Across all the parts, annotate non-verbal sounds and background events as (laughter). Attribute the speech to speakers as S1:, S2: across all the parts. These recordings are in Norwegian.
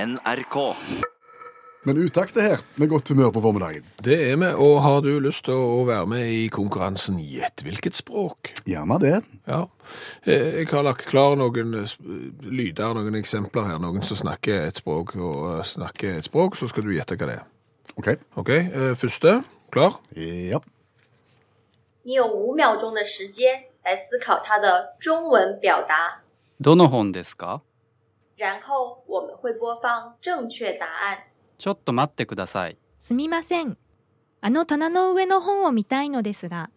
S1: NRK.
S2: Men utakt er her, med godt humør på formiddagen.
S3: Det er vi, og har du lyst til å være med i konkurransen Gjett hvilket språk?
S2: Gjerne det.
S3: Ja. Eh, Jeg har lagt klar noen eh, sp- lyder, noen eksempler her. Noen som snakker et språk, og eh, snakker et språk, så skal du gjette hva det er.
S2: OK.
S3: OK, eh, første. Klar?
S2: Ja.
S4: 你有五秒钟的时间来思考它的中文表达，
S5: どの本ですか
S4: 然后我们会播放正确答案。
S5: ちょっと待ってください。
S6: すみません。あの棚の上の本を見たいのですが、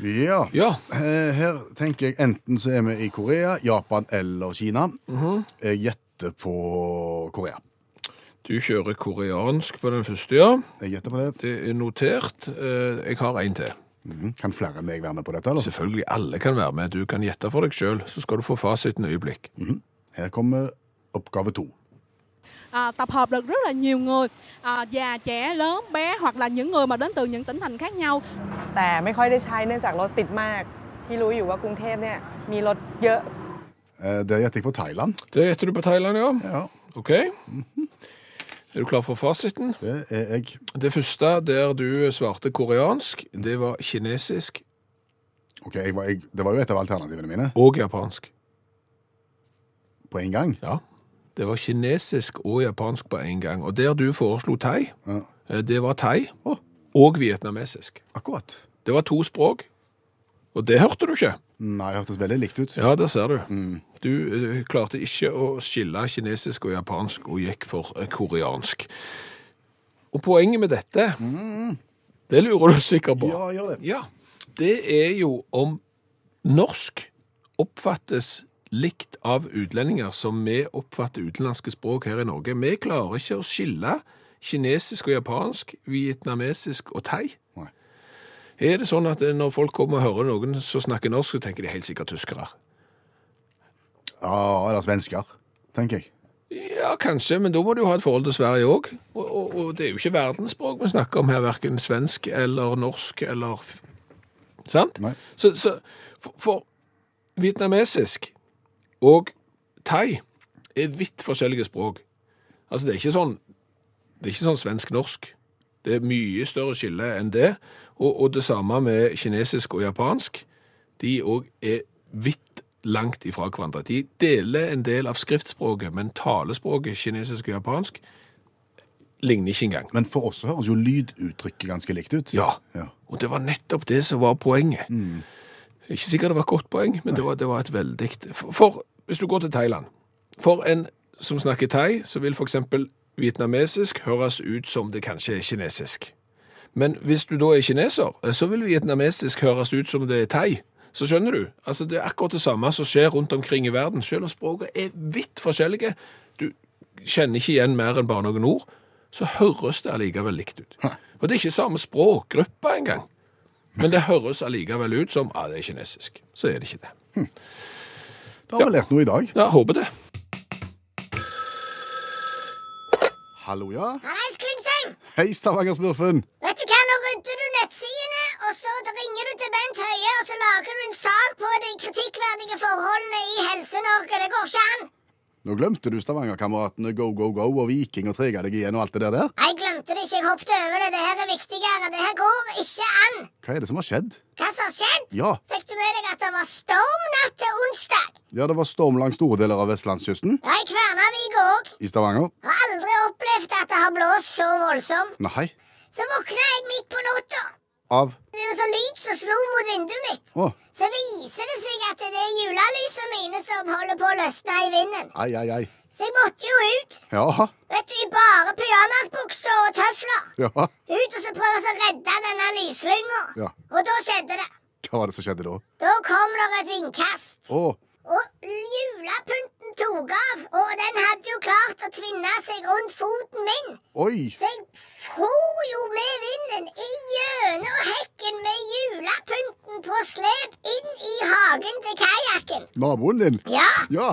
S2: Ja.
S3: Ja.
S2: Eh, Her tenker jeg enten så er vi i Korea, Japan eller Kina. Jeg gjetter på Korea.
S3: Du kjører koreansk på den første, ja.
S2: Jeg gjetter på det.
S3: Det er notert. Eh, Jeg har en til.
S2: Mhm. Kan flere enn meg være med på dette? eller?
S3: Selvfølgelig, alle kan være med. Du kan gjette for deg sjøl, så skal du få fasiten øyeblikk.
S2: Her kommer oppgave to.
S7: à, tập hợp được rất là nhiều người à, già trẻ lớn bé hoặc là những người mà đến từ những tỉnh thành khác nhau
S8: แต่ไม่ค่อยได้ใช้เนื่องจากรถติดมาก ที่รู้อยู่ว่ากรุงเทพเนี่ยมีรถเยอะ
S2: Eh, Der gjetter jeg på Thailand.
S3: Det gjetter du på Thailand, ja. Mhm.
S2: Ja,
S3: OK. Er du klar for fasiten?
S2: det er jeg.
S3: Det første der du svarte koreansk, det var kinesisk
S2: Ok, jeg var, jeg, Det var jo et av alternativene mine
S3: og japansk.
S2: på en gang.
S3: Ja. Det var kinesisk og japansk på en gang. Og der du foreslo thai,
S2: Ja,
S3: eh, det var thai
S2: Å.
S3: og vietnamesisk.
S2: akkurat.
S3: Det var to språk. Og det hørte du ikke.
S2: Nei, det hørtes veldig likt ut.
S3: Ja, der ser du. Du eh, klarte ikke å skille kinesisk og japansk og gikk for eh, koreansk. Og poenget med dette, det lurer du sikkert på.
S2: Ja, gjør det.
S3: Ja, det er jo om norsk oppfattes likt av utlendinger som vi oppfatter utenlandske språk her i Norge. Vi klarer ikke å skille kinesisk og japansk, vietnamesisk og thai.
S2: Nei.
S3: Er det sånn at når folk kommer og hører noen som snakker norsk, så tenker de helt sikkert tyskere?
S2: Ja, Eller svensker, tenker jeg.
S3: Ja, kanskje, men da må du jo ha et forhold til Sverige òg. Og, og, og det er jo ikke verdensspråk vi snakker om her, verken svensk eller norsk eller f- Sant?
S2: Nei.
S3: Så, så for, for vietnamesisk og thai er vidt forskjellige språk. Altså, det er ikke sånn, det er ikke sånn svensk-norsk. Det er mye større skille enn det. Og, og det samme med kinesisk og japansk. De òg er vidt langt ifra hverandre. De deler en del av skriftspråket, men talespråket kinesisk og japansk ligner ikke engang.
S2: Men for oss så høres jo lyduttrykket ganske likt ut.
S3: Ja.
S2: Ja.
S3: Og det var nettopp det som var poenget. Ikke sikkert det var et godt poeng, men det var, det var et veldig for, for hvis du går til Thailand For en som snakker thai, så vil f.eks. vietnamesisk høres ut som det kanskje er kinesisk. Men hvis du da er kineser, eh, så vil vietnamesisk høres ut som det er thai. Så skjønner du. Altså, Det er akkurat det samme som skjer rundt omkring i verden, selv om språket er vidt forskjellige. Du kjenner ikke igjen mer enn bare noen ord. Så høres det allikevel likt ut. Og det er ikke samme språkgruppe engang. Men det høres allikevel ut som ja, det er kinesisk. Så er det ikke det.
S2: Da har vi lært noe i dag.
S3: Ja, håper det.
S2: Hallo, ja.
S9: Hallais, Klingsheim!
S2: Hei, Stavanger-smurfen.
S9: Vet du hva, nå rydder du nettsidene, og så ringer du til Bent Høie, og så lager du en sak på de kritikkverdige forholdene i Helse-Norge. Det går ikke an!
S2: Nå glemte du Stavanger-kameratene Go Go Go og Viking og Trega deg igjen og alt det der der.
S9: Nei, Jeg glemte det ikke. Jeg hoppet over det. Det her er viktigere. Det her går ikke an.
S2: Hva er det som har skjedd?
S9: Hva som har skjedd?
S2: Ja,
S9: Fikk du med deg at det var storm natt til onsdag?
S2: ja det var storm langs store deler av vestlandskysten.
S9: Ja, i Kværnavika òg.
S2: I Stavanger.
S9: Har aldri opplevd at det har blåst så voldsomt.
S2: Nei.
S9: Så våkna jeg midt på natta.
S2: Av
S9: Det var sånn lyd som slo mot vinduet mitt.
S2: Å.
S9: Så viser det seg at det er julelysene mine som holder på å løsne i vinden.
S2: Ai, ai, ai.
S9: Så jeg måtte jo ut.
S2: Ja.
S9: Vet du, I bare pyjamasbukser og tøfler.
S2: Ja.
S9: Ut og så prøve å så redde denne lyslynga.
S2: Ja.
S9: Og da skjedde det.
S2: Hva var det som skjedde da?
S9: Da kom det et vindkast.
S2: Å,
S9: Og julepynten tok av. Og den hadde jo klart å tvinne seg rundt foten min.
S2: oi.
S9: Så jeg for jo med vinden i gjennom hekken med julepynten på slep inn i hagen til kajakken.
S2: Naboen din.
S9: Ja,
S2: Ja.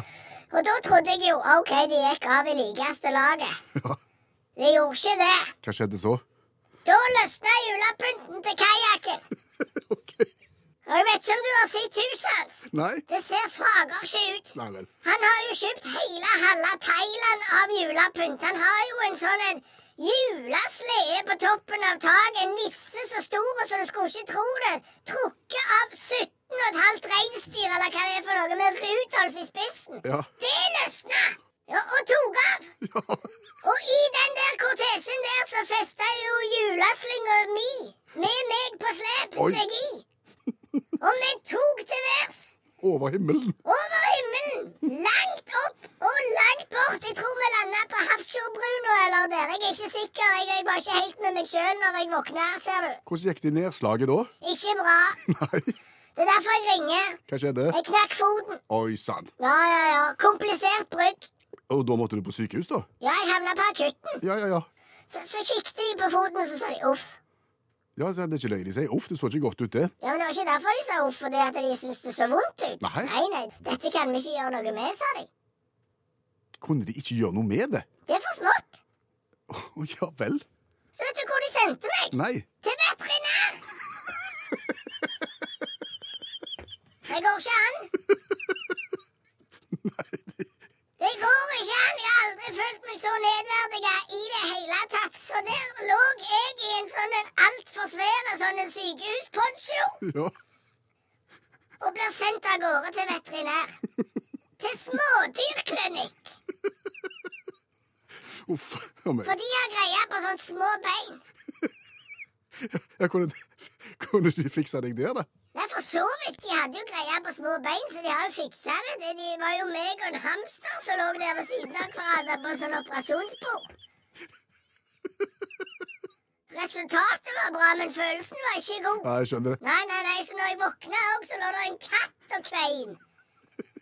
S9: og da trodde jeg jo OK, de gikk av i likeste laget.
S2: ja.
S9: De gjorde ikke det.
S2: Hva skjedde så? (laughs)
S9: Da løsna julepynten til kajakken.
S2: OK.
S9: Og jeg vet ikke om du har sett huset hans.
S2: Nei?
S9: Det ser fagersky ut.
S2: Nei vel.
S9: Han har jo kjøpt hele halve Thailand av julepynt. Han har jo en sånn en juleslede på toppen av taket. En nisse så stor så du skulle ikke tro det. Trukket av 17 og et halvt reinsdyr eller hva det er for noe, med Rudolf i spissen.
S2: Ja.
S9: Det løsna! Ja, og tok av.
S2: ja.
S9: Og i den der kortesjen der så festa jo juleslynga mi med meg på slep
S2: Oi.
S9: seg i. Og vi tok til værs
S2: Over himmelen.
S9: over himmelen, langt opp og langt bort. Jeg tror vi landa på Hafrsfjordbrua eller der. Jeg er ikke sikker. Jeg, jeg var ikke helt med meg sjøl når jeg våkna, ser du.
S2: Hvordan gikk det i nedslaget da?
S9: Ikke bra.
S2: (laughs) Nei,
S9: Det er derfor jeg ringer.
S2: hva skjedde?
S9: Jeg knakk foten.
S2: Oi sann.
S9: Ja, ja, ja. Komplisert brudd.
S2: Og da måtte du på sykehus, da?
S9: Ja, jeg havna på akutten.
S2: Ja, ja, ja.
S9: Så, så kikket de på foten, og så sa de uff.
S2: Ja, Det er ikke løye de sier. Uff, det så ikke godt ut, det.
S9: Ja, men Det var ikke derfor de sa uff, fordi at de syntes det så vondt ut.
S2: Nei.
S9: nei, nei, Dette kan vi ikke gjøre noe med, sa de.
S2: Kunne de ikke gjøre noe med det?
S9: Det er for smått.
S2: Å, ja vel.
S9: Så vet du hvor de sendte meg?
S2: Nei.
S9: Til veterinær! Det går ikke an. Det går ikke an. Jeg har aldri følt meg så nedverdiga i det hele tatt. Så der lå jeg i en sånn en altfor svær sånn en sykehusponsjo.
S2: Ja.
S9: og blir sendt av gårde til veterinær. Til smådyrklinikk,
S2: Uff. Ja, men.
S9: for de har greie på sånne små bein.
S2: Ja, kunne, de, kunne de fikse deg der, da?
S9: Nei, for så vidt, de hadde jo greie på små bein, så de har jo fiksa det. det. De var jo meg og en hamster som lå der ved siden av hverandre på sånn operasjonsbord. Resultatet var bra, men følelsen var ikke god.
S2: Ja, jeg skjønner det.
S9: Nei, nei, nei, så når jeg våkna òg, så lå det en katt og kvein.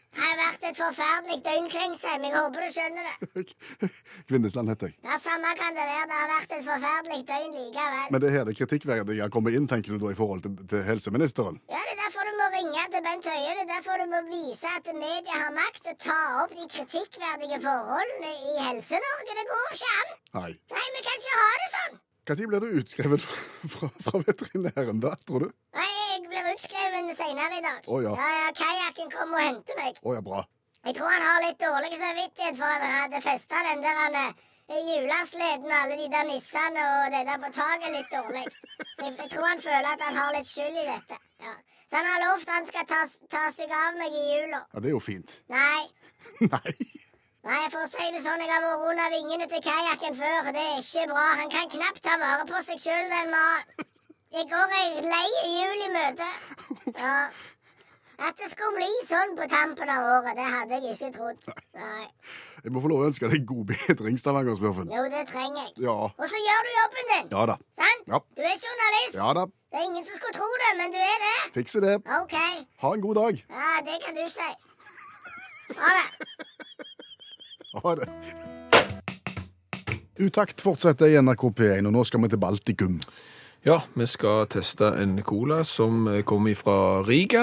S9: Det har vært et forferdelig døgn kring seg, men jeg håper du skjønner det.
S2: Kvinnesland heter jeg.
S9: Ja, Samme kan det være. Det har vært et forferdelig døgn likevel.
S2: Men det er her det kritikkverdige kommer inn, tenker du da, i forhold til, til helseministeren?
S9: Ja, Det er derfor du må ringe til Bent Høie. Det er derfor du må vise at media har makt og ta opp de kritikkverdige forholdene i Helse-Norge. Det går ikke an.
S2: Nei.
S9: Nei, vi kan ikke ha det sånn.
S2: Når blir du utskrevet fra, fra, fra veterinæren, da, tror du?
S9: Nei, jeg blir utskrevet senere i dag.
S2: Å, ja.
S9: ja, ja Kajakken kom og hentet meg.
S2: Å ja, bra.
S9: Jeg tror han har litt dårlig samvittighet for at han hadde festa den der han, eh, julesleden og alle de der nissene og det der på taket litt dårlig. Så jeg, jeg tror han føler at han har litt skyld i dette. Ja. Så han har lovt han skal ta, s- ta seg av meg i jula.
S2: Ja, Det er jo fint. (laughs)
S9: Nei.
S2: Nei.
S9: Nei, for å si det sånn, jeg har vært under vingene til kajakken før. Det er ikke bra. Han kan knapt ta vare på seg sjøl, den mannen. Jeg går ei lei jul i møte. Ja. At det skulle bli sånn på tampen av året, det hadde jeg ikke trodd. Nei.
S2: Jeg må få lov å ønske deg god bedring, Stavanger-smurfen.
S9: Jo, det trenger jeg.
S2: Ja.
S9: Og så gjør du jobben din.
S2: Ja da.
S9: Sant?
S2: Ja.
S9: Du er journalist.
S2: Ja da.
S9: Det er ingen som skulle tro det, men du er det.
S2: Fikse det.
S9: OK.
S2: Ha en god dag.
S9: Ja, det kan du si. Ha det.
S2: Ha det. Utakt fortsetter i NRK P1, og nå skal vi til Baltikum.
S3: Ja, vi skal teste en cola som kommer fra Riga,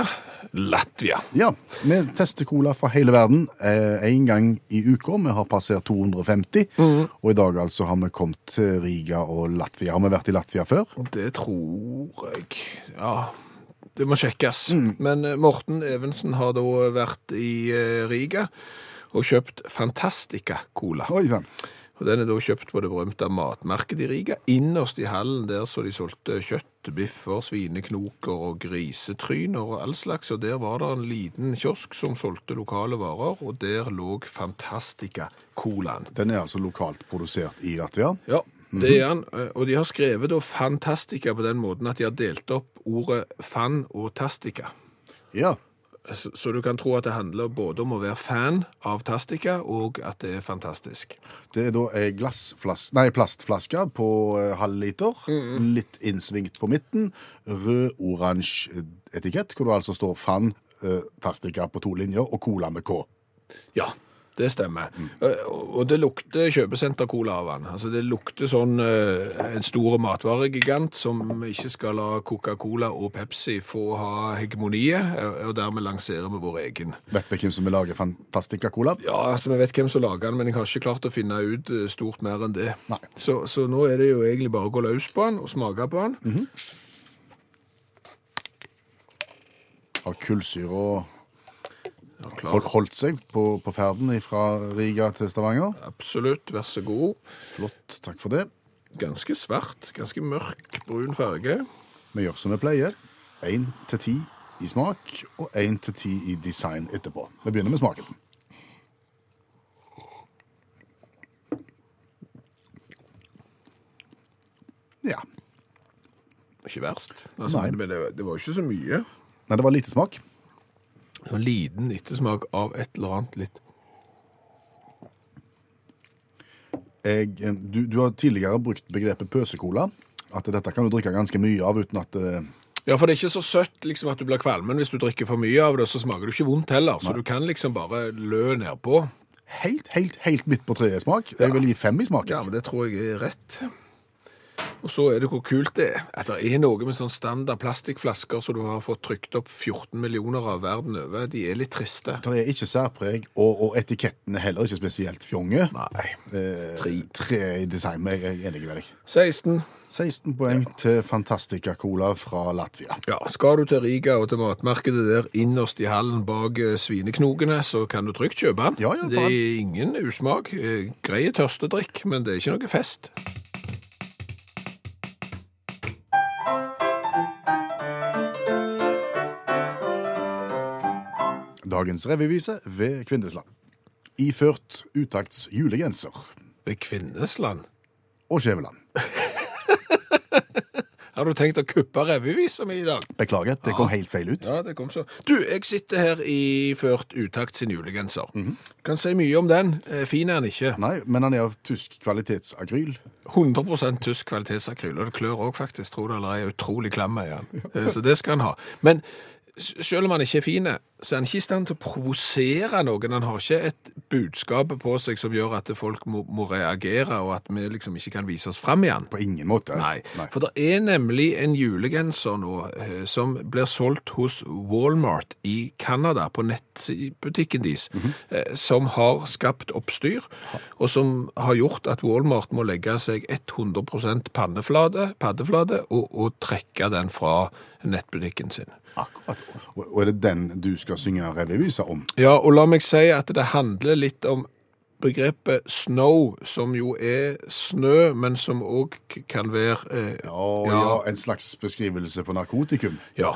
S3: Latvia.
S2: Ja, vi tester cola fra hele verden én eh, en gang i uka. Vi har passert 250, og i dag altså har vi kommet til Riga og Latvia. Har vi vært i Latvia før?
S3: Det tror jeg Ja, det må sjekkes. Men eh, Morten Evensen har da vært i eh, Riga og kjøpt Fantastica Cola.
S2: Oi sann.
S3: Og Den er da kjøpt på det berømte matmarkedet i Riga. Innerst i hallen der så de solgte kjøtt, biffer, svineknoker og grisetryner og all slags. Og der var det en liten kiosk som solgte lokale varer, og der lå Fantastica Colaen.
S2: Den er altså lokalt produsert i Latvia.
S3: Ja, det er han. Eh, Og de har skrevet da Fantastica på den måten at de har delt opp ordet fan og tastica. Eh,
S2: Ja.
S3: Så så du kan tro at det handler både om å være fan av Tastica, og at det er fantastisk.
S2: Det er da ei glassflas- nei, plastflaske på eh, halv liter. Litt innsvingt på midten. Rød-oransje etikett, hvor det altså står Fan eh, Tastica på to linjer og Cola med K.
S3: Ja, det stemmer. Eh, Og og det lukter kjøpesenter-cola av han. Altså, det lukter sånn eh, en stor matvaregigant som ikke skal la Coca-Cola og Pepsi få ha hegemoniet, eh, og dermed lanserer vi vår egen.
S2: Vet vi hvem som vil lage Fantastica-cola?
S3: Ja, altså, jeg vet hvem som lager den, men jeg har ikke klart å finne ut eh, stort mer enn det.
S2: Nei.
S3: Så, så nå er det jo
S2: Mhm.
S3: egentlig bare å gå løs på den og smake på den.
S2: Har kullsyra
S3: Ja,
S2: hold-
S3: klart.
S2: holdt seg på, på ferden fra Riga til Stavanger?
S3: Absolutt, vær så god.
S2: Flott, takk for det.
S3: Ganske svart, ganske mørk brun farge.
S2: Vi gjør som vi pleier. Én til ti i smak, og én til ti i design etterpå. Vi begynner med smaken. Ja.
S3: Ikke verst. Altså,
S2: Nei.
S3: Men det, det var jo ikke så mye.
S2: Nei, det var lite smak.
S3: Det var liten ettersmak av et eller annet litt
S2: Jeg, eh, du, du har tidligere brukt begrepet pøsekola. At dette kan du drikke ganske mye av uten at eh,
S3: Ja, for det er ikke så søtt liksom, at du blir kvalmen hvis du drikker for mye av det, så smaker du ikke vondt heller, så du kan liksom bare lø nedpå.
S2: Helt, helt, helt midt på treet i smak. Jeg vil gi fem i smak.
S3: Ja, men det tror jeg er rett. Og så er det hvor kult det er. At det er noe med sånn standard plastikkflasker som du har fått trykt opp 14 millioner av verden over. De er litt triste.
S2: Det er ikke særpreg, og, og etiketten er heller ikke spesielt fjonge.
S3: Nei.
S2: Eh,
S3: Tre.
S2: tre i design, men jeg er enig med deg.
S3: 16.
S2: 16 poeng til Fantastica Cola fra Latvia.
S3: Ja, skal du til Riga og til matmarkedet der innerst i hallen bak eh, svineknokene, så kan du trygt kjøpe den.
S2: Ja, ja,
S3: det
S2: faen.
S3: er ingen usmak. Eh, Grei tørstedrikk, men det er ikke noe fest.
S2: Dagens revyvise ved Kvindesland. Iført utakts julegenser
S3: Ved Kvinnesland.
S2: og skjeveland.
S3: Har du tenkt å kuppe revyvisa mi i dag?
S2: Beklager, det kom helt feil ut.
S3: Ah. Ja, det kom så. Du, jeg sitter her i ført utakt sin julegenser. Kan si mye om den. Eh, Fin er den ikke.
S2: Nei, men han er av tysk kvalitetsagryl.
S3: 100 tysk kvalitetsakryl. Og det klør òg, faktisk. Tror det eller ei. Utrolig klam er den. Eh, Så det skal han ha. Men s- selv om han ikke er fin, så er han ikke i stand til å provosere noen. Han har ikke et budskap på seg som gjør at folk må, må reagere, og at vi liksom ikke kan vise oss fram i han.
S2: På ingen måte.
S3: Nei, for det er nemlig en julegenser nå eh, som blir solgt hos Walmart i Canada, på nettbutikken deres, eh, som har skapt oppstyr, og som har gjort at Walmart må legge seg 100 panneflate, paddeflate og, og trekke den fra nettbutikken sin.
S2: Akkurat. Og- Og er det den du skal synge revyvise om?
S3: Ja, og la meg si at det handler litt om begrepet snow, som jo er snø, men som òg kan være eh,
S2: Å ja.
S3: Ja.
S2: en slags beskrivelse på narkotikum.
S3: Ja.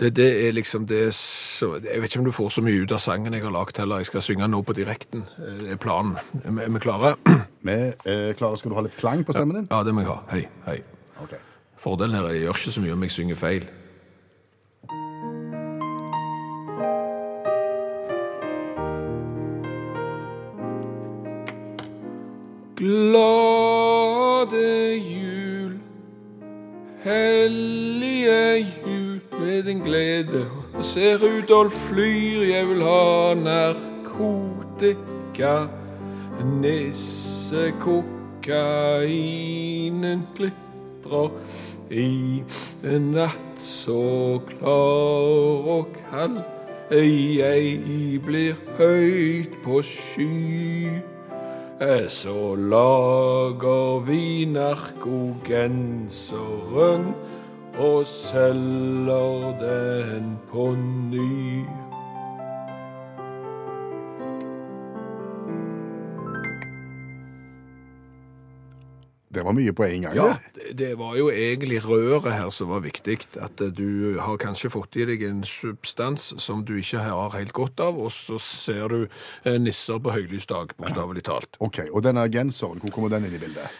S3: Det, det er liksom det så, Jeg vet ikke om du får så mye ut av sangen jeg har lagd heller. Jeg skal synge den nå på direkten. eh, Det er planen. Er vi- Er vi klare? (clears throat)
S2: Vi, eh, Klara, skal du ha litt klang på stemmen din?
S3: Ja, det må jeg ha. Hei, hei.
S2: Ok.
S3: Fordelen her er at jeg gjør ikke så mye om jeg synger feil. Glade jul, hellige jul, med din glede. Og se Rudolf flyr, jeg vil ha narkotika, nisse, kokainen glitrer. I en natt så klar og kald, jeg blir høyt på sky. Så lager vi narkogenseren og selger den på ny.
S2: Det var mye på en gang.
S3: Ja,
S2: det.
S3: det- det var jo egentlig røret her som var viktig. At eh, du har kanskje fått i deg en substans som du ikke har helt godt av, og så ser du eh, nisser på høylys dag, bokstavelig talt.
S2: Ok, Og denne genseren, hvor kommer den inn i bildet?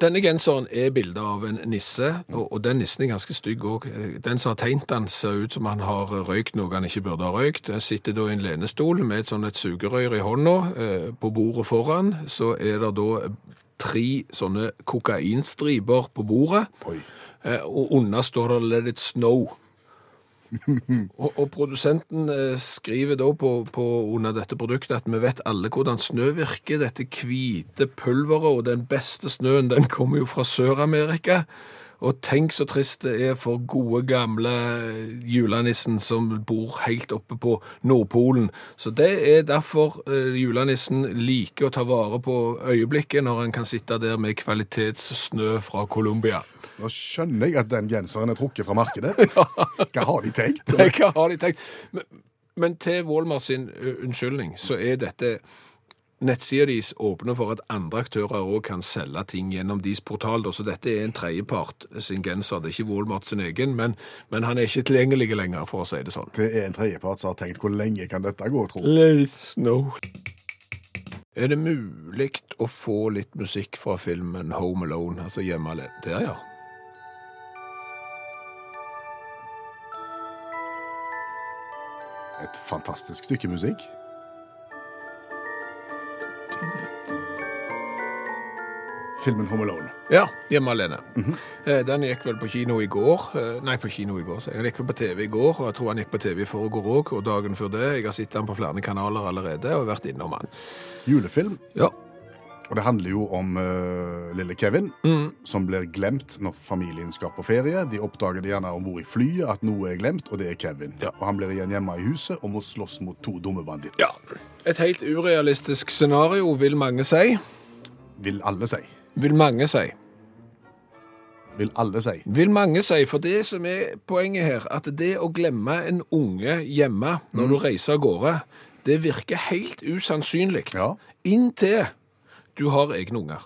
S3: Denne genseren er bildet av en nisse, og, og den nissen er ganske stygg òg. Den som har tegnet den, ser ut som han har røykt noe han ikke burde ha røykt. Den sitter da i en lenestol med et sånn et sugerør i hånda. Eh, På bordet foran så er det da tre sånne kokainstriper på bordet,
S2: Oi.
S3: eh, og under står det 'Let it snow'. Og, og produsenten eh, skriver da på, på under dette produktet at vi vet alle hvordan snø virker, dette hvite pulveret, og den beste snøen den kommer jo fra Sør-Amerika. Og tenk så trist det er for gode, gamle julenissen som bor helt oppe på Nordpolen. Så det er derfor eh, julenissen liker å ta vare på øyeblikket når han kan sitte der med kvalitetssnø fra Colombia. (laughs)
S2: Nå skjønner jeg at den genseren er trukket fra markedet. Hva har de
S3: (laughs)
S2: tenkt?
S3: Nei, hva har de tenkt? Men, men til Walmart sin ø, unnskyldning, så er dette nettsida deres åpne for at andre aktører òg kan selge ting gjennom deres portal. da, Så dette er en tredjepart eh, sin genser. Det er ikke Walmart sin egen, men, men han er ikke tilgjengelig lenger, for å si det sånn.
S2: Det er en tredjepart som har tenkt hvor lenge kan dette gå, tro.
S3: Let it snow. Er det mulig å få litt musikk fra filmen Home Alone, altså hjemme alene? Der, ja.
S2: Et fantastisk stykke musikk. Filmen Home Alone.
S3: Ja, Hjemme alene. Eh, Den gikk vel på kino i går. Eh, Nei, på kino i går, så jeg. Den gikk vel på TV i går, og jeg tror han gikk på TV i forgår òg, og dagen før det. Jeg har sett han på flere kanaler allerede og vært innom han.
S2: Julefilm.
S3: Ja.
S2: Og det handler jo om eh, lille Kevin,
S3: Mm.
S2: som blir glemt når familien skal på ferie. De oppdager det gjerne om bord i flyet at noe er glemt, og det er Kevin.
S3: Ja.
S2: Og han blir igjen hjemme i huset og må slåss mot to dumme banditter.
S3: ja. Et helt urealistisk scenario, vil mange si.
S2: Vil alle si.
S3: Vil mange si.
S2: Vil alle si.
S3: Vil mange si, for det som er poenget her, at det å glemme en unge hjemme når du reiser av gårde, det virker helt usannsynlig.
S2: Ja.
S3: Inntil du har egne unger.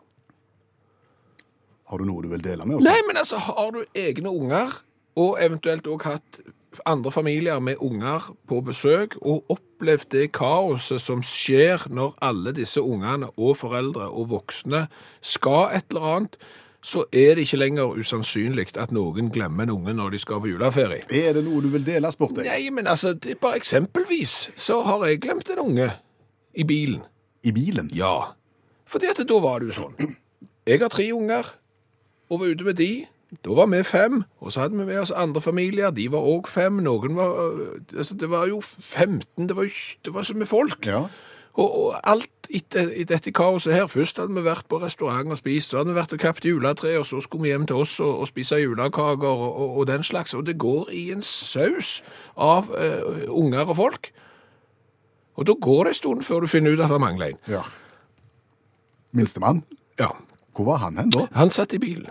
S2: Har du noe du vil dele med oss?
S3: Nei, men altså, har du egne unger, og eventuelt òg hatt andre familier med unger på besøk, og opplevd det kaoset som skjer når alle disse ungene og foreldre og voksne skal et eller annet, så er det ikke lenger usannsynlig at noen glemmer en unge når de skal på juleferie.
S2: Er det noe du vil dele, spurte jeg.
S3: Nei, men altså, det er bare eksempelvis så har jeg glemt en unge i bilen.
S2: I bilen?
S3: Ja, fordi at da var det jo sånn. Jeg har tre unger, og var ute med de. Da var vi fem, og så hadde vi med oss andre familier. De var òg fem. Noen var øh, altså, Det var jo 15 Det var, jo ikke- det var så mye folk.
S2: Ja.
S3: Og, og alt i, det- i dette kaoset her Først hadde vi vært på restaurant og spist, så hadde vi vært og kapt juletre, og så skulle vi hjem til oss og, og spise julekaker og, og, og den slags. Og det går i en saus av øh, unger og folk. Og da går det en stund før du finner ut at det mangler en.
S2: ja. Minstemann?
S3: Ja.
S2: Hvor var han hen da?
S3: Han satt i bilen.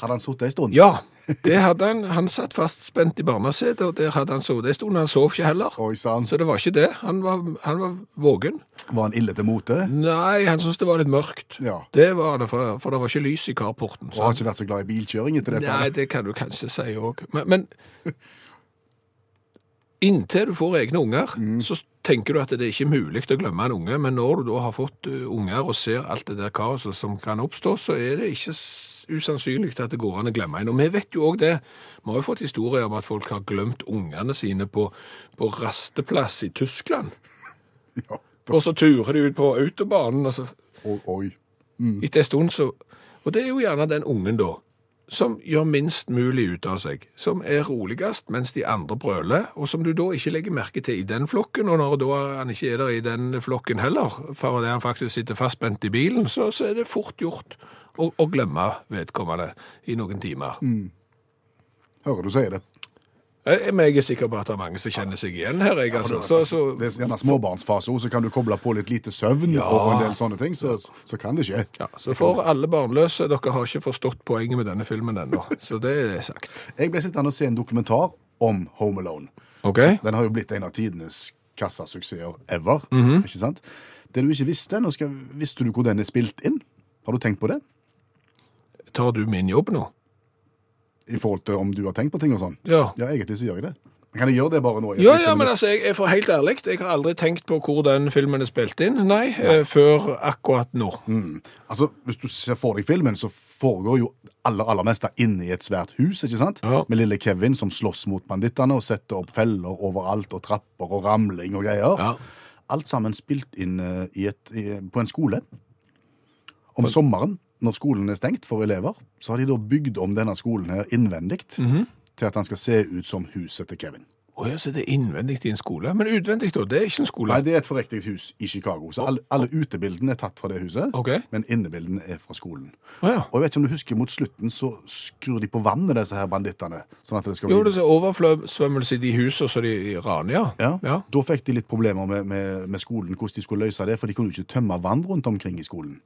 S2: Hadde han sittet en stund?
S3: Ja, det hadde han. Han satt fastspent i barnesetet, og der hadde han sovet en stund. Han sov ikke heller.
S2: Oi sann.
S3: Så det var ikke det. Han var, han var våken.
S2: Var han ille til mote?
S3: Nei, han syntes det var litt mørkt.
S2: Ja.
S3: Det var det, for, for det var ikke lys i carporten.
S2: Og har ikke vært så glad i bilkjøring etter dette?
S3: Nei, det kan du kanskje si òg. Men, men inntil du får egne unger, så tenker du at det er ikke mulig å glemme en unge. Men når du da har fått uh, unger og ser alt det der kaoset som kan oppstå, så er det ikke s- usannsynlig at det går an å glemme en. Og vi vet jo òg det. Vi har jo fått historier om at folk har glemt ungene sine på, på rasteplass i Tyskland.
S2: (laughs) Ja.
S3: Og så turer de ut på autobanen, og så
S2: Oi, oi.
S3: etter en stund så Og det er jo gjerne den ungen, da, som gjør minst mulig ut av seg. Som er roligst mens de andre brøler, og som du da ikke legger merke til i den flokken. Og når da han ikke er der i den flokken heller, for det han faktisk sitter fastspent i bilen, så, så er det fort gjort å, å glemme vedkommende i noen timer.
S2: Hører du sier det.
S3: Eh, Men jeg er sikker på at det er mange som kjenner seg igjen her, jeg, altså. Så, så,
S2: Det er gjerne småbarnsfase også, så kan du koble på litt lite søvn og en del sånne ting, så, så kan det skje.
S3: ja, så for alle barnløse, dere har ikke forstått poenget med denne filmen ennå, så det er sagt.
S2: (laughs) Jeg ble sittende og se en dokumentar om Home Alone.
S3: OK?
S2: Den har jo blitt en av tidenes kassasuksesser ever,
S3: Mhm.
S2: ikke sant? Det du ikke visste, nå skal, visste du hvor den er spilt inn? Har du tenkt på det?
S3: Tar du min jobb nå?
S2: I forhold til om du har tenkt på ting og sånn?
S3: Ja.
S2: Ja, egentlig så gjør jeg det. Men Kan jeg gjøre det bare nå?
S3: Ja, ja, men altså, jeg, jeg får helt ærlig, jeg har aldri tenkt på hvor den filmen er spilt inn, nei, eh, før akkurat nå.
S2: Altså, hvis du ser for deg filmen, så foregår jo aller, aller meste inne i et svært hus, ikke sant?
S3: Ja.
S2: Med lille Kevin som slåss mot bandittene og setter opp feller overalt, og trapper og ramling og greier.
S3: Ja.
S2: Alt sammen spilt inn eh, i et, i, på en skole. Om sommeren, når skolen er stengt for elever,
S3: Mhm.
S2: så har de da bygd om denne skolen her innvendigt til at den skal se ut som huset til Kevin.
S3: Å Å ja, så det er innvendig i en skole. Men utvendig, da? Det er ikke en skole.
S2: Nei, det er et forriktig hus i Chicago. Så alle, alle utebildene er tatt fra det huset,
S3: Ok.
S2: men innebildene er fra skolen.
S3: Å ja.
S2: Og jeg vet ikke om du husker, mot slutten så skrur de på vannet, disse her bandittene. Sånn at det skal bli...
S3: Jo, det er overflømmelse i de husene som de raner, ja.
S2: Ja. Da fikk de litt problemer med, med, med skolen, hvordan de skulle løse det, for de kunne jo ikke tømme vann rundt omkring i skolen.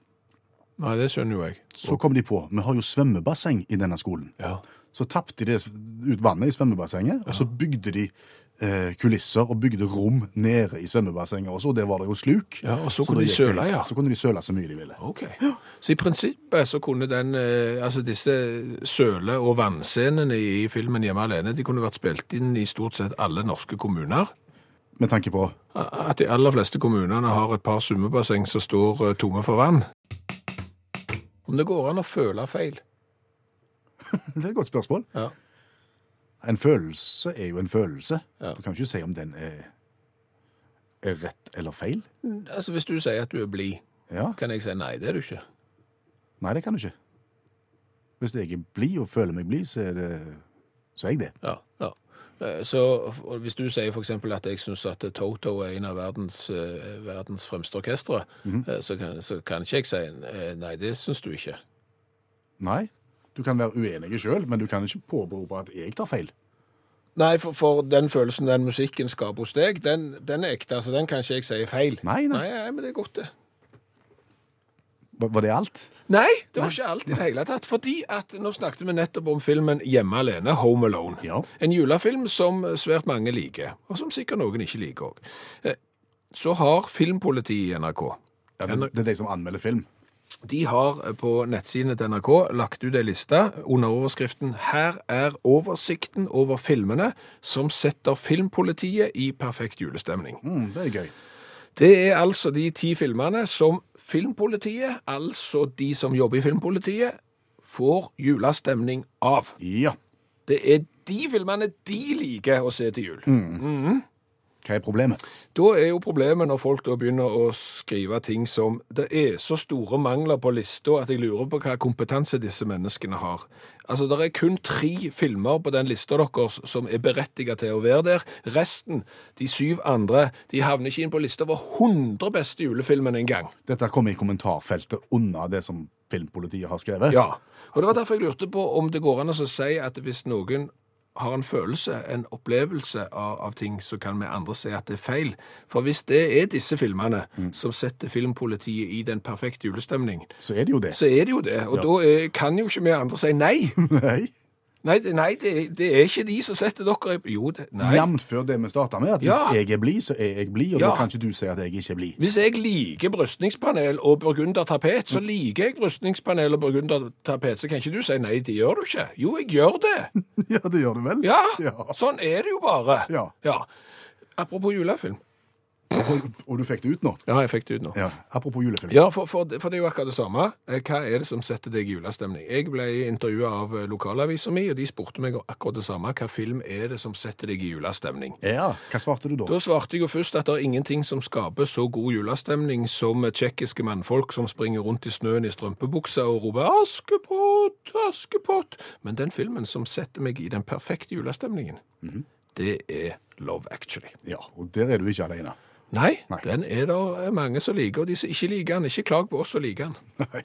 S3: Nei, det skjønner jo jeg.
S2: Så kom de på, vi har jo svømmebasseng i denne skolen.
S3: Ja.
S2: Så tappte de det ut vannet i svømmebassenget, og så bygde de eh, kulisser og bygde rom nede i svømmebassenget også, og der var det jo sluk.
S3: Ja, og så
S2: da
S3: kunne de
S2: gikk det
S3: søle,
S2: greit.
S3: ja.
S2: Så kunne de søle så mye de ville.
S3: Ok. Så i prinsippet så kunne den, eh, altså disse søle- og vannscenene i filmen Hjemme alene, de kunne vært spilt inn i stort sett alle norske kommuner.
S2: Med tanke på (laughs)
S3: A- At de aller fleste kommunene har et par svømmebasseng som står eh, tomme for vann. Om det går an å føle feil.
S2: Det er et godt spørsmål.
S3: Ja.
S2: En følelse er jo en følelse.
S3: Ja.
S2: Du kan jo ikke si om den er, er rett eller feil.
S3: Altså hvis du sier at du er blid,
S2: Ja.
S3: kan jeg si nei, det er du ikke.
S2: Nei, det kan du ikke. Hvis jeg er blid og føler meg blid, så er, det, så er jeg det.
S3: Ja, ja. Eh, Så og hvis du sier for eksempel at jeg synes at Toto er en av verdens, eh, verdens fremste orkestre,
S2: Mhm.
S3: eh, så, kan, så kan ikke jeg si eh, nei, det synes du ikke.
S2: Nei. Du kan være uenig sjøl, men du kan ikke påberope at jeg tar feil.
S3: Nei, for, for den følelsen den musikken skaper hos deg, den, den er ekte, altså den kan ikke jeg si er feil.
S2: Nei, nei.
S3: Nei, men det er godt det.
S2: Var, var det alt?
S3: Nei, det var ikke alt i det hele tatt, fordi at nå snakket vi nettopp om filmen Hjemme alene, Home Alone.
S2: Ja.
S3: En julefilm som svært mange liker, og som sikkert noen ikke liker også. Eh, Så har filmpolitiet i NRK
S2: Ja, men det er de som anmelder film.
S3: De har eh, på nettsidene til NRK lagt ut ei liste under overskriften 'Her er oversikten over filmene som setter filmpolitiet i perfekt julestemning'.
S2: Mm, det er gøy.
S3: Det er altså de ti filmene som filmpolitiet, altså de som jobber i filmpolitiet, får julestemning av.
S2: Ja.
S3: Det er de filmene de liker å se til jul.
S2: Hva er problemet?
S3: Da er jo problemet når folk da begynner å skrive ting som Det er så store mangler på lista at jeg lurer på hva kompetanse disse menneskene har. Altså, det er kun tre filmer på den lista deres som er berettiget til å være der. Resten, de syv andre, de havner ikke inn på lista over 100 beste julefilmene engang.
S2: Dette kommer i kommentarfeltet unna det som filmpolitiet har skrevet.
S3: (laughs) Ja. Og det var derfor jeg lurte på om det går an å si at hvis noen har en følelse, en opplevelse av, av ting, så kan vi andre si at det er feil. For hvis det er disse filmene som setter filmpolitiet i den perfekte julestemning,
S2: Så er det jo det. (laughs)
S3: så er det jo det. Og
S2: Ja.
S3: da er, kan jo ikke vi andre si nei.
S2: Nei.
S3: Nei, det, nei, det, det er ikke de som setter dere i Jo, det, nei.
S2: Jevnt før det vi starta med, at hvis
S3: Ja.
S2: jeg er blid, så er jeg blid, og
S3: Ja.
S2: da kan ikke du si at jeg ikke er blid. (laughs)
S3: Hvis jeg liker brystningspanel og burgundertapet, så liker jeg brystningspanel og burgundertapet, så kan ikke du si nei, det gjør du ikke. Jo, jeg gjør det.
S2: Ja, det gjør du vel?
S3: Ja,
S2: Ja.
S3: sånn er det jo bare.
S2: Ja.
S3: Apropos julefilm.
S2: Og du fikk det ut nå?
S3: Ja, jeg fikk det ut nå. Ja,
S2: Ja. Apropos julefilm.
S3: for, for, for det er jo akkurat det samme. Eh, Hva er det som setter deg i julestemning? Jeg ble intervjua av eh, lokalavisa mi, og de spurte meg om akkurat det samme. Hva film er det som setter deg i julestemning?
S2: Ja, Hva svarte du da?
S3: Da svarte jeg jo først at det er ingenting som skaper så god julestemning som tsjekkiske mannfolk som springer rundt i snøen i strømpebuksa og roper 'Askepott, Askepott'. Men den filmen som setter meg i den perfekte julestemningen,
S2: Mhm.
S3: det er 'Love Actually'.
S2: Ja, og der er du ikke alene.
S3: Nei,
S2: Nei.
S3: den er det mange som liker, og de som ikke liker den, ikke klag på oss som liker den.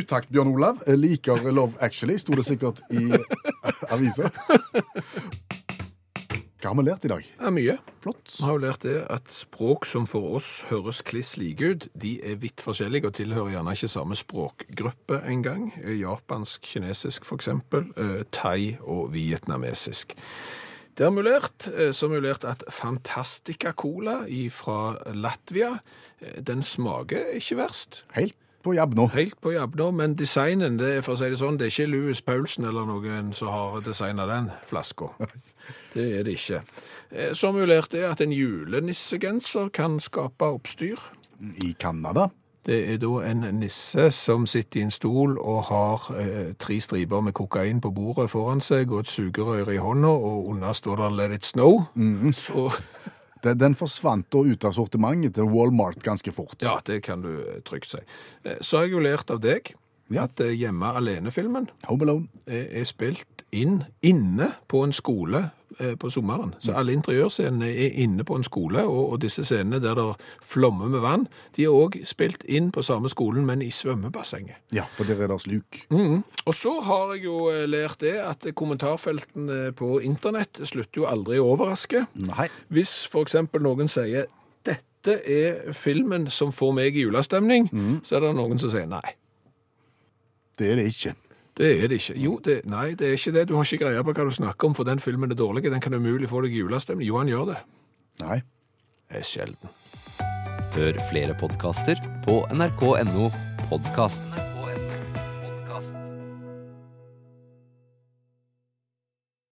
S2: Utakt, Bjørn Olav. Liker Love Actually, sto det sikkert i (laughs) avisa. Hva har vi lært i dag?
S3: Det er mye.
S2: Flott.
S3: Vi har jo lært det at språk som for oss høres kliss like ut, de er vidt forskjellige og tilhører gjerne ikke samme språkgruppe engang. Eh, Japansk, kinesisk for eksempel, eh, thai og vietnamesisk. Det har vi lært, eh, så har vi lært at Fantastica Cola fra Latvia, eh, den smaker ikke verst.
S2: Helt på jabb nå.
S3: Helt på jabb nå, men designen, det er for å si det sånn, det er ikke Louis Paulsen eller noen som har designet den flaska. Det er det ikke. Eh, Så har vi lært det at en julenissegenser kan skape oppstyr.
S2: I Canada.
S3: Det er da en nisse som sitter i en stol og har eh, tre striper med kokain på bordet foran seg og et sugerøre i hånda, og under står det 'Let it snow'. Så
S2: Den, den forsvant da ut av sortimentet til Walmart ganske fort.
S3: ja, det kan du eh, trygt si. Eh, Så har jeg jo lært av deg
S2: Ja.
S3: at eh, Hjemme alene-filmen
S2: Home Alone.
S3: er er spilt inn inne på en skole eh, på sommeren. Så alle interiørscenene er inne på en skole, og, og disse scenene der det flommer med vann, de er òg spilt inn på samme skolen, men i svømmebassenget.
S2: Ja, for der er det sluk.
S3: Mhm. Og så har jeg jo eh, lært det at kommentarfeltene eh, på internett slutter jo aldri å overraske.
S2: Nei.
S3: Hvis for eksempel noen sier dette er filmen som får meg i julestemning, så er det noen som sier nei.
S2: Det er det ikke.
S3: Det er det ikke. Jo, det, nei, det er ikke det. Du har ikke greie på hva du snakker om, for den filmen er dårlig. Den kan umulig få deg i julestemning. Jo, han gjør det.
S2: Nei.
S3: Det er sjelden.
S1: Hør flere podkaster på nrk.no podkast.